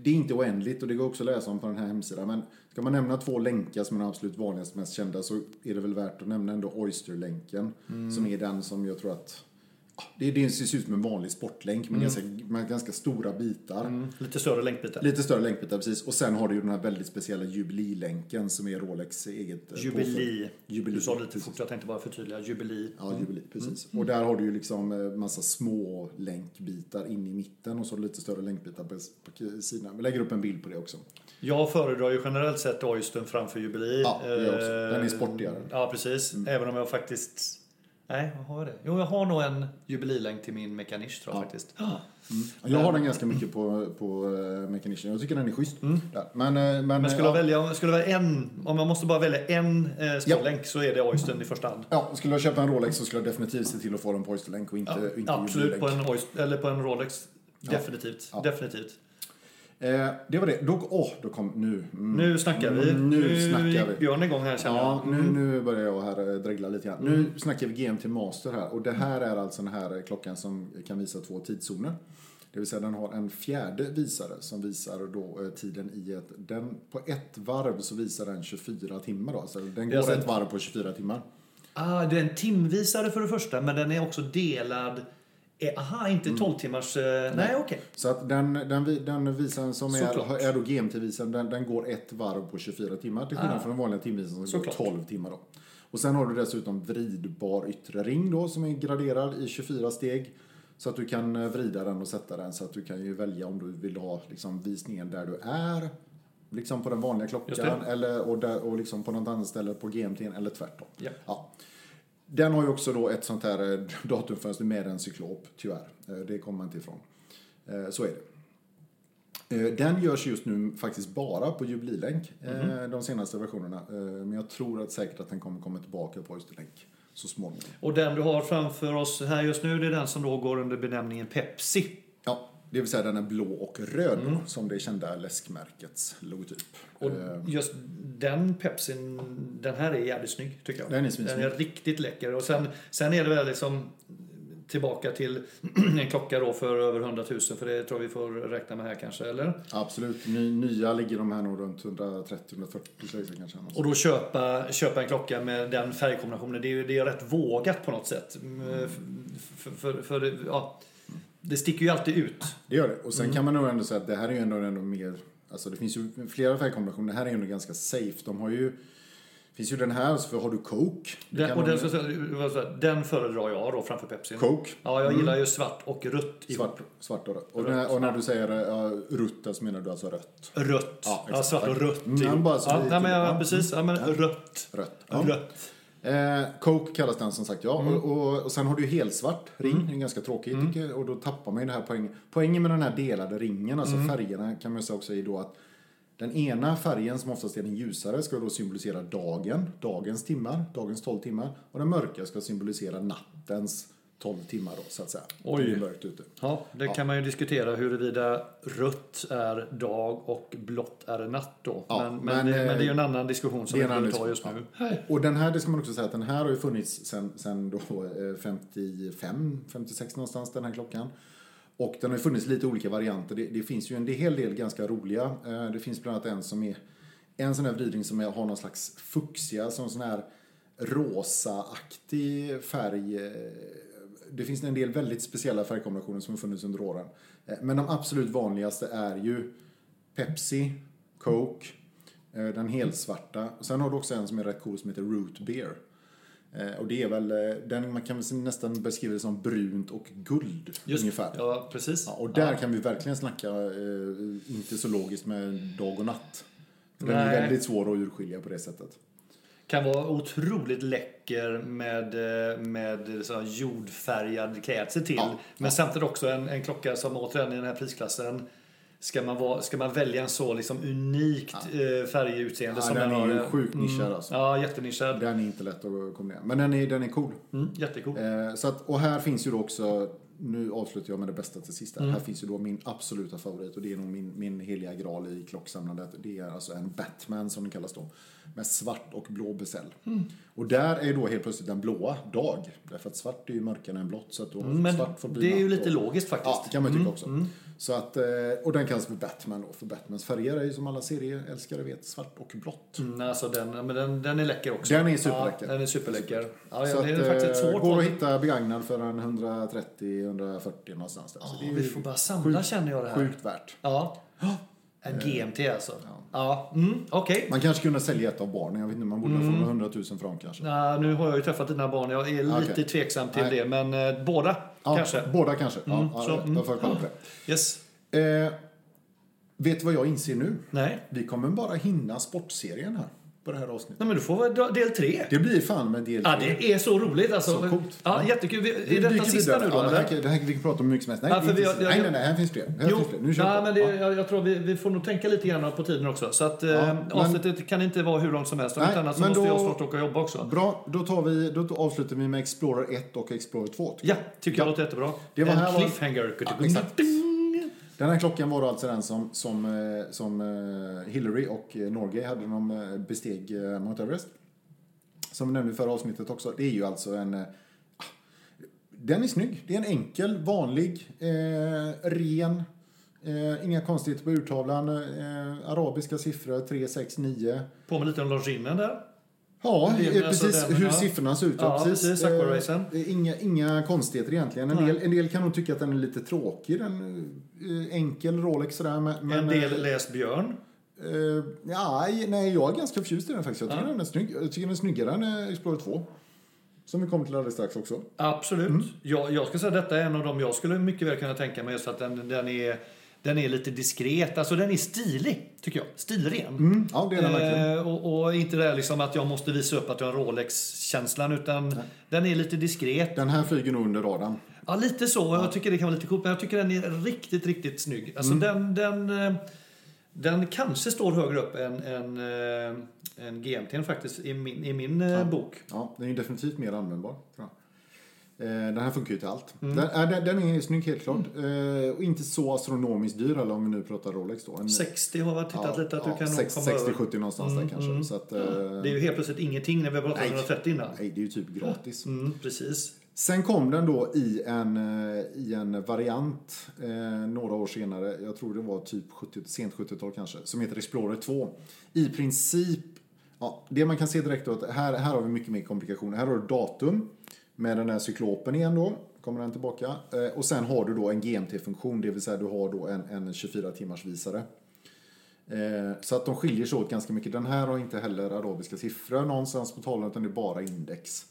Speaker 2: det är inte oändligt och det går också att läsa om på den här hemsidan. Men ska man nämna två länkar som är de absolut vanligaste, mest kända så är det väl värt att nämna ändå Oyster-länken.
Speaker 1: Mm.
Speaker 2: Som är den som jag tror att ja, det, det ser ut som en vanlig sportlänk
Speaker 1: Mm.
Speaker 2: med, ganska, med ganska stora bitar.
Speaker 1: Lite större länkbitar.
Speaker 2: Lite större länkbitar, precis. Och sen har du ju den här väldigt speciella jubililänken som är Rolex eget eh,
Speaker 1: Jubili.
Speaker 2: påfund. Jubili.
Speaker 1: Du sa det lite fort, Mm. jag tänkte bara förtydliga. Jubili.
Speaker 2: Ja, jubili, precis. Och där har du ju liksom eh, massa små länkbitar in i mitten och så lite större länkbitar på, på sidorna. Vi lägger upp en bild på det också.
Speaker 1: Jag föredrar ju generellt sett Oystern framför Jubilee. Eh,
Speaker 2: Ja, det gör jag också. Den är sportigare. Mm.
Speaker 1: Ja, precis. Även om jag faktiskt... Nej, vad har jag det? Jo, jag har nog en jubililänk till min mekanisch tror jag faktiskt. Mm.
Speaker 2: Jag har den ganska mycket på, på eh, Mechanician. Jag tycker den är schysst. Där. Men, eh, men,
Speaker 1: Mm. Men skulle jag
Speaker 2: ja,
Speaker 1: välja, om jag skulle välja en, om jag måste bara välja en eh, sportlänk så är det Oystern i första hand.
Speaker 2: ja, skulle jag köpa en Rolex så skulle jag definitivt se till att få den på Oysterlänk och inte,
Speaker 1: Ja,
Speaker 2: inte
Speaker 1: absolut,
Speaker 2: jubililänk.
Speaker 1: på en, Oyster, eller på en Rolex. Definitivt.
Speaker 2: Ja. Mm.
Speaker 1: Definitivt.
Speaker 2: Eh, det var det. Då, åh, då kom nu. Mm.
Speaker 1: Nu snackar vi.
Speaker 2: Mm, nu snackar
Speaker 1: gick
Speaker 2: vi.
Speaker 1: Björn igång här känner
Speaker 2: Ja,
Speaker 1: jag.
Speaker 2: nu, nu börjar jag här eh, dregla lite grann. Nu snackar vi GM till master här och det här är alltså den här eh, klockan som kan visa två tidszoner. Det vill säga den har en fjärde visare som visar då eh, tiden i ett... Den, på ett varv så visar den 24 timmar då. Så den går
Speaker 1: alltså
Speaker 2: ett
Speaker 1: en-
Speaker 2: varv på 24 timmar.
Speaker 1: Ah, det är en timvisare för det första, men den är också delad. Eh, Aha, inte
Speaker 2: Mm.
Speaker 1: 12 timmars... Eh, nej, okej.
Speaker 2: Så att den, den, vi- den visaren som
Speaker 1: Såklart.
Speaker 2: är, är då GMT-visaren, den, den går ett varv på 24 timmar till skillnad från den vanliga timvisaren som går
Speaker 1: Såklart.
Speaker 2: 12 timmar då. Och sen har du dessutom vridbar yttre ring då som är graderad i 24 steg. Så att du kan eh, vrida den och sätta den så att du kan ju välja om du vill ha liksom, visningen där du är. Liksom på den vanliga klockan eller, och, där, och liksom på något annat ställe på GMT eller tvärtom.
Speaker 1: Ja.
Speaker 2: Ja. Den har ju också då ett sånt här eh, [laughs] datumfönster med en cyklop, tyvärr. Eh, Det kommer man inte ifrån. Eh, Så är det. Eh, Den görs just nu faktiskt bara på jubililänk, eh,
Speaker 1: Mhm.
Speaker 2: de senaste versionerna. Eh, Men jag tror att säkert att den kommer komma tillbaka på Oysterlänk så småningom.
Speaker 1: Och den du har framför oss här just nu, det är den som då går under benämningen Pepsi.
Speaker 2: Ja, det vill säga den är blå och röd då, som det kända läskmärkets logotyp.
Speaker 1: Mm. Och
Speaker 2: Eh,
Speaker 1: just den Pepsin, den här är jävligt snygg tycker jag.
Speaker 2: Den är
Speaker 1: den
Speaker 2: svinsnygg.
Speaker 1: är riktigt läcker. Och sen, sen är det väl liksom tillbaka till [clears throat] en klocka då för över 100 000, för det tror vi får räkna med här kanske, eller?
Speaker 2: Absolut, ny, nya ligger de här nog runt 130-140 tusen kanske.
Speaker 1: Och då köpa, köpa en klocka med den färgkombinationen, det är, ju- det är rätt vågat på något sätt. Mm, För, för, för, det- ja, det sticker ju alltid ut.
Speaker 2: Det gör det. Och sen kan man nog ändå säga att det här är ju ändå, ändå mer... Alltså det finns ju flera färgkombinationer. Det här är ju ändå ganska safe. De har ju... Det finns ju den här, så har du Coke. Det
Speaker 1: Den,
Speaker 2: kan
Speaker 1: och
Speaker 2: man-
Speaker 1: den, ska, jag säga, den föredrar jag då framför Pepsin.
Speaker 2: Coke.
Speaker 1: Ja, jag gillar ju svart och rött ihop.
Speaker 2: Mm. Svart, svart och rött. Och, när, och när du säger uh, rutta så menar du alltså rött.
Speaker 1: Rött.
Speaker 2: Ja,
Speaker 1: Ja,
Speaker 2: exakt.
Speaker 1: svart och
Speaker 2: Tack.
Speaker 1: rött
Speaker 2: Mm,
Speaker 1: ihop.
Speaker 2: bara så
Speaker 1: ja,
Speaker 2: vi-
Speaker 1: nej, men jag,
Speaker 2: ja.
Speaker 1: precis. Ja, men rött.
Speaker 2: Rött. Ja.
Speaker 1: Rött.
Speaker 2: Eh, Coke kallas den som sagt, ja. Och, och, och sen har du ju helsvart ring. Det är ganska tråkigt tycker jag. Och då tappar man ju det här poängen. Poängen med den här delade ringen, alltså färgerna kan man ju säga också är då att den ena färgen som oftast är den ljusare ska då symbolisera dagen, dagens timmar, dagens 12 timmar. Och den mörka ska symbolisera nattens 12 timmar då så att säga.
Speaker 1: Oj.
Speaker 2: Det är mörkt ute.
Speaker 1: Ja, det kan man ju diskutera huruvida rött är dag och blått är natt då.
Speaker 2: Ja,
Speaker 1: men, men,
Speaker 2: men,
Speaker 1: det, men det är ju
Speaker 2: eh,
Speaker 1: en annan diskussion som
Speaker 2: det
Speaker 1: vi
Speaker 2: är en
Speaker 1: inte vill
Speaker 2: annan
Speaker 1: ta just
Speaker 2: diskussion,
Speaker 1: nu.
Speaker 2: Och den här, det ska man också säga att den här har ju funnits sen, sen då eh, 55, 56 någonstans, den här klockan. Och den har ju funnits lite olika varianter. Det, det finns ju en hel del ganska roliga. Eh, Det finns bland annat en som är en sån här vridning som är, har någon slags fuchsia, som sån här rosaaktig färg. eh, Det finns en del väldigt speciella färgkombinationer som har funnits under åren. Eh, Men de absolut vanligaste är ju Pepsi, Coke, eh, den helsvarta. Och sen har du också en som är rätt cool som heter Root Beer. Eh, Och det är väl, eh, den man kan väl nästan beskriva det som brunt och guld
Speaker 1: Just,
Speaker 2: ungefär.
Speaker 1: Ja, precis.
Speaker 2: Ja, och där kan vi verkligen snacka, eh, inte så logiskt med dag och natt. Den
Speaker 1: Nej.
Speaker 2: är väldigt svår att urskilja på det sättet.
Speaker 1: Kan vara otroligt läcker med, eh, med så här jordfärgad klädsel till.
Speaker 2: Ja,
Speaker 1: men samtidigt också en, en klocka som återigen i den här prisklassen Ska man, vara, ska man välja en så liksom unikt eh, färgutseende
Speaker 2: Ja,
Speaker 1: som
Speaker 2: den är
Speaker 1: har,
Speaker 2: ju
Speaker 1: eh,
Speaker 2: sjukt nischad alltså.
Speaker 1: Ja, jättenischad.
Speaker 2: Den är inte lätt att kombinera. Men den är, den är cool.
Speaker 1: Mm, jättecool.
Speaker 2: Eh, så att, och här finns ju då också nu avslutar jag med det bästa till sist. här.
Speaker 1: Mm.
Speaker 2: Här finns ju då min absoluta favorit och det är nog min, min heliga graal i klocksamlandet. Det är alltså en Batman som den kallas då. Med svart och blå besäll.
Speaker 1: Mm.
Speaker 2: Och där är ju då helt plötsligt den blåa dag. Därför att svart är ju mörkare än blått. Så att då
Speaker 1: Men
Speaker 2: svart får bli
Speaker 1: det är ju
Speaker 2: natt
Speaker 1: lite
Speaker 2: då.
Speaker 1: logiskt faktiskt. Mm,
Speaker 2: Ja, det kan man ju tycka också. Så att, eh, och den kallas för Batman då, för Batmans färger är ju som alla serieälskare vet svart och blått.
Speaker 1: Mm, alltså den, men den, den är läcker också.
Speaker 2: Den är superläcker.
Speaker 1: Ja, den är superläcker. Ja,
Speaker 2: Så
Speaker 1: ja, det är
Speaker 2: att,
Speaker 1: faktiskt ett
Speaker 2: eh,
Speaker 1: svårt
Speaker 2: Går
Speaker 1: val.
Speaker 2: att hitta begagnad för en 130-140 någonstans där. så
Speaker 1: Ja,
Speaker 2: det är ju
Speaker 1: Alltså, Vi får bara samla känner jag det här.
Speaker 2: sjukt värt.
Speaker 1: Ja. [gasps] En
Speaker 2: Eh,
Speaker 1: GMT alltså. Ja. Mm, Okej.
Speaker 2: Man kanske kunde sälja ett av barnen, jag vet inte, man borde mm. få några 100 000 franc kanske.
Speaker 1: Nej, Eh, nu har jag ju träffat dina barn. Jag är lite
Speaker 2: Okej.
Speaker 1: tveksam till
Speaker 2: Nej.
Speaker 1: det, men eh, båda
Speaker 2: Ja,
Speaker 1: kanske. Mm,
Speaker 2: Båda kanske. Ja, ja,
Speaker 1: så,
Speaker 2: jag vet. jag får kolla på det.
Speaker 1: Yes.
Speaker 2: Eh, vet du vad jag inser nu?
Speaker 1: Nej.
Speaker 2: Vi kommer bara hinna sportserien här på det här avsnittet.
Speaker 1: Nej, men du får väl dra del tre.
Speaker 2: Det blir fan med del
Speaker 1: Ja,
Speaker 2: tre.
Speaker 1: det är så roligt alltså.
Speaker 2: Så coolt.
Speaker 1: Ja, jättekul. Vi- Är
Speaker 2: Vi
Speaker 1: detta
Speaker 2: dyker
Speaker 1: sista
Speaker 2: vidare.
Speaker 1: nu då,
Speaker 2: Ja, men här,
Speaker 1: eller?
Speaker 2: kan- det här kan vi prata om hur mycket som helst. Nej,
Speaker 1: Ja, för
Speaker 2: inte
Speaker 1: vi har-
Speaker 2: sist.
Speaker 1: jag-
Speaker 2: nej,
Speaker 1: jag-
Speaker 2: nej, nej, här finns fler. Här
Speaker 1: Jo,
Speaker 2: finns fler. Nu kör
Speaker 1: nej,
Speaker 2: vi
Speaker 1: men
Speaker 2: på.
Speaker 1: det,
Speaker 2: Ja.
Speaker 1: jag, jag tror vi, vi får nog tänka lite grann på tiden också. Så att eh,
Speaker 2: men-
Speaker 1: avsnittet kan inte vara hur långt som helst. Om
Speaker 2: Nej,
Speaker 1: inte annat så
Speaker 2: men
Speaker 1: måste
Speaker 2: då-
Speaker 1: jag snart åka och jobba också.
Speaker 2: Bra, då, tar vi, då avslutar vi med Explorer 1 och Explorer 2. tycker
Speaker 1: Ja, tycker jag låter jättebra.
Speaker 2: Det var
Speaker 1: en
Speaker 2: här var-
Speaker 1: cliffhanger.
Speaker 2: Ja, exakt. jag. Den här klockan var då alltså den som, som, eh, som eh, Hillary och eh, Norge hade när de eh, besteg eh, Mount Everest. Som vi nämnde i förra avsnittet också. Det är ju alltså en... eh, ah, Den är snygg. Det är en enkel, vanlig, eh, ren. Eh, inga konstigheter på urtavlan. Eh, arabiska siffror, 3, 6, 9.
Speaker 1: Påminner lite om Lars Rimmen där.
Speaker 2: Ja,
Speaker 1: Det är väl
Speaker 2: eh,
Speaker 1: alltså
Speaker 2: precis
Speaker 1: den,
Speaker 2: hur
Speaker 1: ja.
Speaker 2: siffrorna ser ut.
Speaker 1: Ja, precis,
Speaker 2: Eh,
Speaker 1: Aquaracen.
Speaker 2: eh, Inga, inga konstigheter egentligen. En
Speaker 1: Nej.
Speaker 2: del, en del kan nog tycka att den är lite tråkig. Den, eh, enkel Rolex sådär. Men, men,
Speaker 1: en
Speaker 2: eh,
Speaker 1: del läst Björn.
Speaker 2: eh, ja, nej, jag är ganska förtjust i den faktiskt. Jag tycker,
Speaker 1: Ja.
Speaker 2: den, är snygg. jag tycker den är snyggare än eh, Explorer 2. Som vi kommer till alldeles strax också.
Speaker 1: Absolut.
Speaker 2: Mm.
Speaker 1: Jag, jag ska säga att detta är en av dem jag skulle mycket väl kunna tänka mig just för att den, den, är, den är lite diskret. Alltså den är stilig, tycker jag. Stilren.
Speaker 2: Mm, ja, det är den verkligen.
Speaker 1: Eh, och, och inte det här liksom att jag måste visa upp att jag har Rolex-känslan utan den är lite diskret.
Speaker 2: Den här flyger nog under radarn.
Speaker 1: Ja, lite så. Jag tycker det kan vara lite coolt men jag tycker den är riktigt, riktigt snygg. Alltså
Speaker 2: Mm.
Speaker 1: den, den, eh, den kanske står högre upp än, än, eh, än GMT faktiskt i min, i min eh, bok.
Speaker 2: Ja, den är ju definitivt mer användbar. tror jag. Eh, Den här funkar ju till allt.
Speaker 1: Mm.
Speaker 2: Den, äh, den, den är snygg helt klart. Eh, Och inte så astronomiskt dyr eller om vi nu pratar Rolex då. En-
Speaker 1: 60 har jag tittat lite att du kan nog komma över. Mm,
Speaker 2: 60-70 någonstans där kanske. Så att, eh,
Speaker 1: Det är ju helt plötsligt ingenting när vi har pratat om
Speaker 2: Nej.
Speaker 1: 130 innan.
Speaker 2: Nej, det är ju typ gratis.
Speaker 1: Mm, precis.
Speaker 2: Sen kom den då i en, eh, i en variant eh, några år senare, jag tror det var typ 70, sent 70-tal kanske, som heter Explorer 2. I princip, ja, det man kan se direkt då att här, här har vi mycket mer komplikationer. Här har du datum med den här cyklopen igen då, kommer den tillbaka. Eh, och sen har du då en GMT-funktion, det vill säga du har då en, en 24 timmars visare. Eh, Så att de skiljer sig åt ganska mycket. Den här har inte heller arabiska siffror någonstans på tavlan utan det är bara index.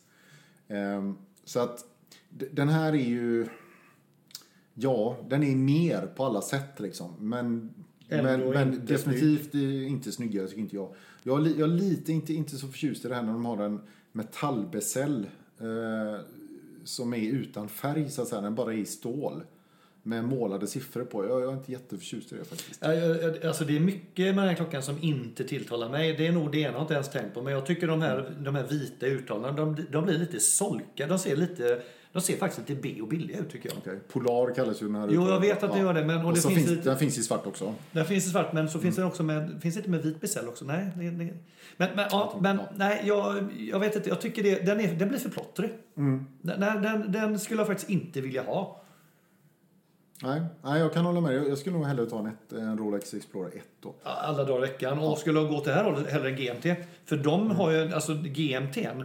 Speaker 2: Ehm, Så att d- den här är ju... Ja, den är mer på alla sätt liksom. Men,
Speaker 1: Ändå
Speaker 2: men, men
Speaker 1: inte
Speaker 2: definitivt är inte snyggare tycker inte jag. Jag är, li- jag är lite inte, inte så förtjust i det här när de har en metallbesäll eh, som är utan färg så att säga. Den bara är i stål. Med målade siffror på. Jag, jag är inte jätteförtjust i det faktiskt.
Speaker 1: Ja, ja, ja, Alltså det är mycket med den här klockan som inte tilltalar mig. Det är nog det ena jag inte ens tänkt på. Men jag tycker de här, de här vita uttalandena, de, de blir lite solka. De ser lite, de ser faktiskt lite B och billiga ut tycker jag.
Speaker 2: Okej, Polar kallas ju den här
Speaker 1: Jo, jag
Speaker 2: uttagen.
Speaker 1: vet att det gör det, men- och
Speaker 2: och
Speaker 1: det
Speaker 2: så
Speaker 1: finns
Speaker 2: finns, Mm.
Speaker 1: lite-
Speaker 2: Den finns i svart också.
Speaker 1: Den finns i svart men så finns den också med, finns det inte med vit besäll också? Nej. Det, det. Men, men, ja, men
Speaker 2: ja.
Speaker 1: nej, jag, jag vet inte. Jag tycker det, den, är, den blir för plottrig. Den, den- den, den skulle jag faktiskt inte vilja ha.
Speaker 2: Nej, nej, jag kan hålla med. Jag, jag skulle nog hellre ta en, ett, en Rolex Explorer 1 då.
Speaker 1: alla dagar i veckan. Och skulle jag gå till det här hållet hellre än GMT. För de har ju, alltså GMT'n.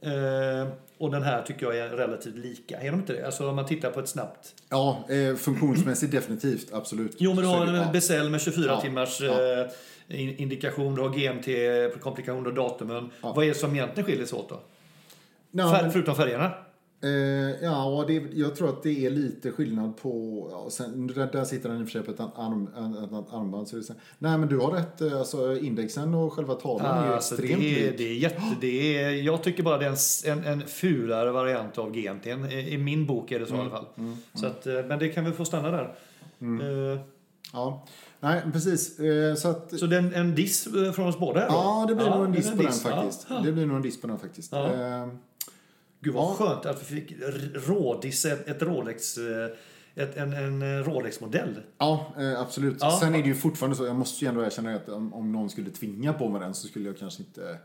Speaker 1: Eh, och den här tycker jag är relativt lika. Är de inte det? Alltså om man tittar på ett snabbt.
Speaker 2: Ja, eh, funktionsmässigt definitivt, absolut.
Speaker 1: Jo men du
Speaker 2: Så
Speaker 1: har
Speaker 2: är
Speaker 1: en
Speaker 2: det- ja.
Speaker 1: beställ med 24
Speaker 2: Ja,
Speaker 1: timmars
Speaker 2: ja.
Speaker 1: eh, in- indikation. Du har GMT, komplikation och datumen.
Speaker 2: Ja.
Speaker 1: Vad är det som egentligen skiljer sig åt då?
Speaker 2: Nej,
Speaker 1: Fär,
Speaker 2: men-
Speaker 1: förutom färgerna?
Speaker 2: Eh, ja, och det, jag tror att det är lite skillnad på... Ja, sen, där, där sitter den i och för sig på ett arm, en- en- ett armband. Så det är, så- nej, men du har rätt. eh, Alltså, indexen och själva tavlan är ju
Speaker 1: Alltså,
Speaker 2: extremt
Speaker 1: det, är,
Speaker 2: lik.
Speaker 1: det är jätte, det är, jag tycker bara det är en, s- en, en fulare variant av GMT. I i min bok är det så
Speaker 2: Mm.
Speaker 1: i alla fall. Så att, eh, men det kan vi få stanna där.
Speaker 2: Mm.
Speaker 1: Eh,
Speaker 2: Ja. Nej, precis. Eh, så att,
Speaker 1: Så det är en, en diss eh, från oss båda? här då?
Speaker 2: ja, det blir nog en
Speaker 1: det
Speaker 2: diss
Speaker 1: är
Speaker 2: på den
Speaker 1: ja.
Speaker 2: faktiskt. Det blir nog en diss på den faktiskt.
Speaker 1: Ja.
Speaker 2: Eh,
Speaker 1: Gud vad skönt att vi fick r- Rådis, ett, ett Rolex, eh, ett, en, en eh, Rolex-modell.
Speaker 2: Ja, eh, absolut.
Speaker 1: Ja.
Speaker 2: Sen är det ju fortfarande så, jag måste ju ändå erkänna att om, om någon skulle tvinga på mig den så skulle jag kanske inte,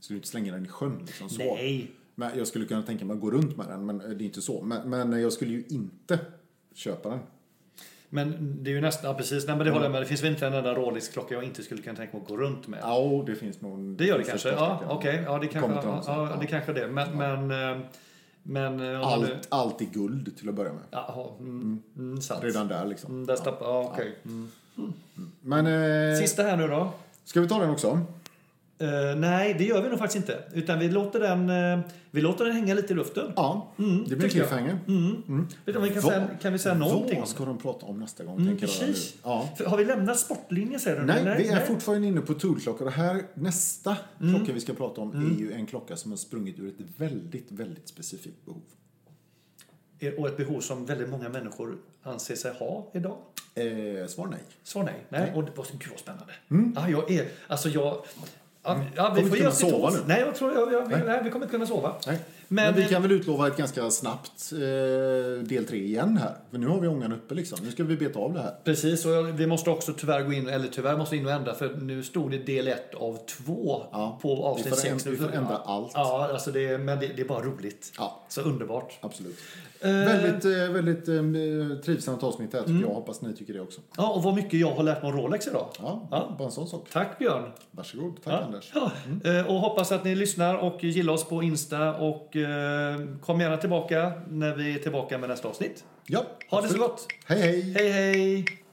Speaker 2: skulle inte slänga den i sjön. Liksom, så.
Speaker 1: Nej.
Speaker 2: Men jag skulle kunna tänka mig att gå runt med den, men eh, det är inte så. Men, men jag skulle ju inte köpa den.
Speaker 1: Men det är ju nästan, ja, precis, nej men det håller jag
Speaker 2: Mm.
Speaker 1: med. Det finns väl inte en enda Rolex-klocka jag inte skulle kunna tänka mig att gå runt med.
Speaker 2: Ja, och det finns nog...
Speaker 1: Det gör det kanske, ja okej, ja det kanske,
Speaker 2: Kommer till
Speaker 1: ja,
Speaker 2: honom sen.
Speaker 1: ja, det
Speaker 2: Ja.
Speaker 1: kanske är det. Men, men, eh, men eh, om man nu-
Speaker 2: Allt, allt i guld till att börja med.
Speaker 1: Jaha, mm, mm, sant.
Speaker 2: Redan där liksom.
Speaker 1: Mm, där stapp, ja, okej. Mm.
Speaker 2: Men eh,
Speaker 1: Sista här nu då.
Speaker 2: ska vi ta den också?
Speaker 1: Eh, nej, det gör vi nog faktiskt inte. Utan vi låter den, eh, vi låter den hänga lite i luften.
Speaker 2: Ja, det blir
Speaker 1: Mm, tycker jag.
Speaker 2: cliffhanger.
Speaker 1: Vet du, vi kan,
Speaker 2: Vad-
Speaker 1: säga, kan vi säga någonting om Mm,
Speaker 2: Vad ska de prata om nästa gång? tänker jag nu.
Speaker 1: precis.
Speaker 2: Ja.
Speaker 1: För Har vi lämnat sportlinjen säger du?
Speaker 2: Nej, vi är fortfarande inne på Tool-klockor. Och här, nästa
Speaker 1: Mm.
Speaker 2: klocka vi ska prata om är ju en klocka som har sprungit ur ett väldigt, väldigt specifikt behov.
Speaker 1: Och ett behov som väldigt många människor anser sig ha idag.
Speaker 2: Eh, svar nej.
Speaker 1: Svar nej. nej. Mm. Och det var, gud vad spännande. Ja, jag är, alltså jag... Ja, ja, vi
Speaker 2: Kommer inte
Speaker 1: får
Speaker 2: kunna
Speaker 1: ge oss till
Speaker 2: sova
Speaker 1: tåls.
Speaker 2: nu.
Speaker 1: Nej, jag tror, jag, jag, nej. vi kommer inte kunna sova.
Speaker 2: nej. Men,
Speaker 1: Men-
Speaker 2: vi kan väl utlova ett ganska snabbt eh, del tre igen här. För nu har vi ångan uppe liksom. Nu ska vi beta av det här.
Speaker 1: Precis, och jag- vi måste också tyvärr gå in, eller tyvärr måste in och ändra för nu stod det del 1 av 2
Speaker 2: Ja, vi
Speaker 1: på
Speaker 2: får
Speaker 1: avsnitt 6.
Speaker 2: ändra- vi får ändra allt.
Speaker 1: Ja, alltså det, men det, det är bara roligt.
Speaker 2: Ja.
Speaker 1: Så underbart.
Speaker 2: Absolut. väldigt eh, väldigt eh, trivsamt avsnitt här tycker
Speaker 1: Mm.
Speaker 2: jag. Hoppas ni tycker det också.
Speaker 1: Ja, och vad mycket jag har lärt mig om Rolex idag.
Speaker 2: Ja,
Speaker 1: Ja.
Speaker 2: bara en sån sak.
Speaker 1: Tack Björn.
Speaker 2: Varsågod. Tack
Speaker 1: Ja.
Speaker 2: Anders.
Speaker 1: Ja. Eh, Och hoppas att ni lyssnar och gillar oss på Insta och eh, kom gärna tillbaka när vi är tillbaka med nästa avsnitt.
Speaker 2: Ja,
Speaker 1: Ha det så
Speaker 2: absolut.
Speaker 1: gott.
Speaker 2: Hej hej.
Speaker 1: Hej hej!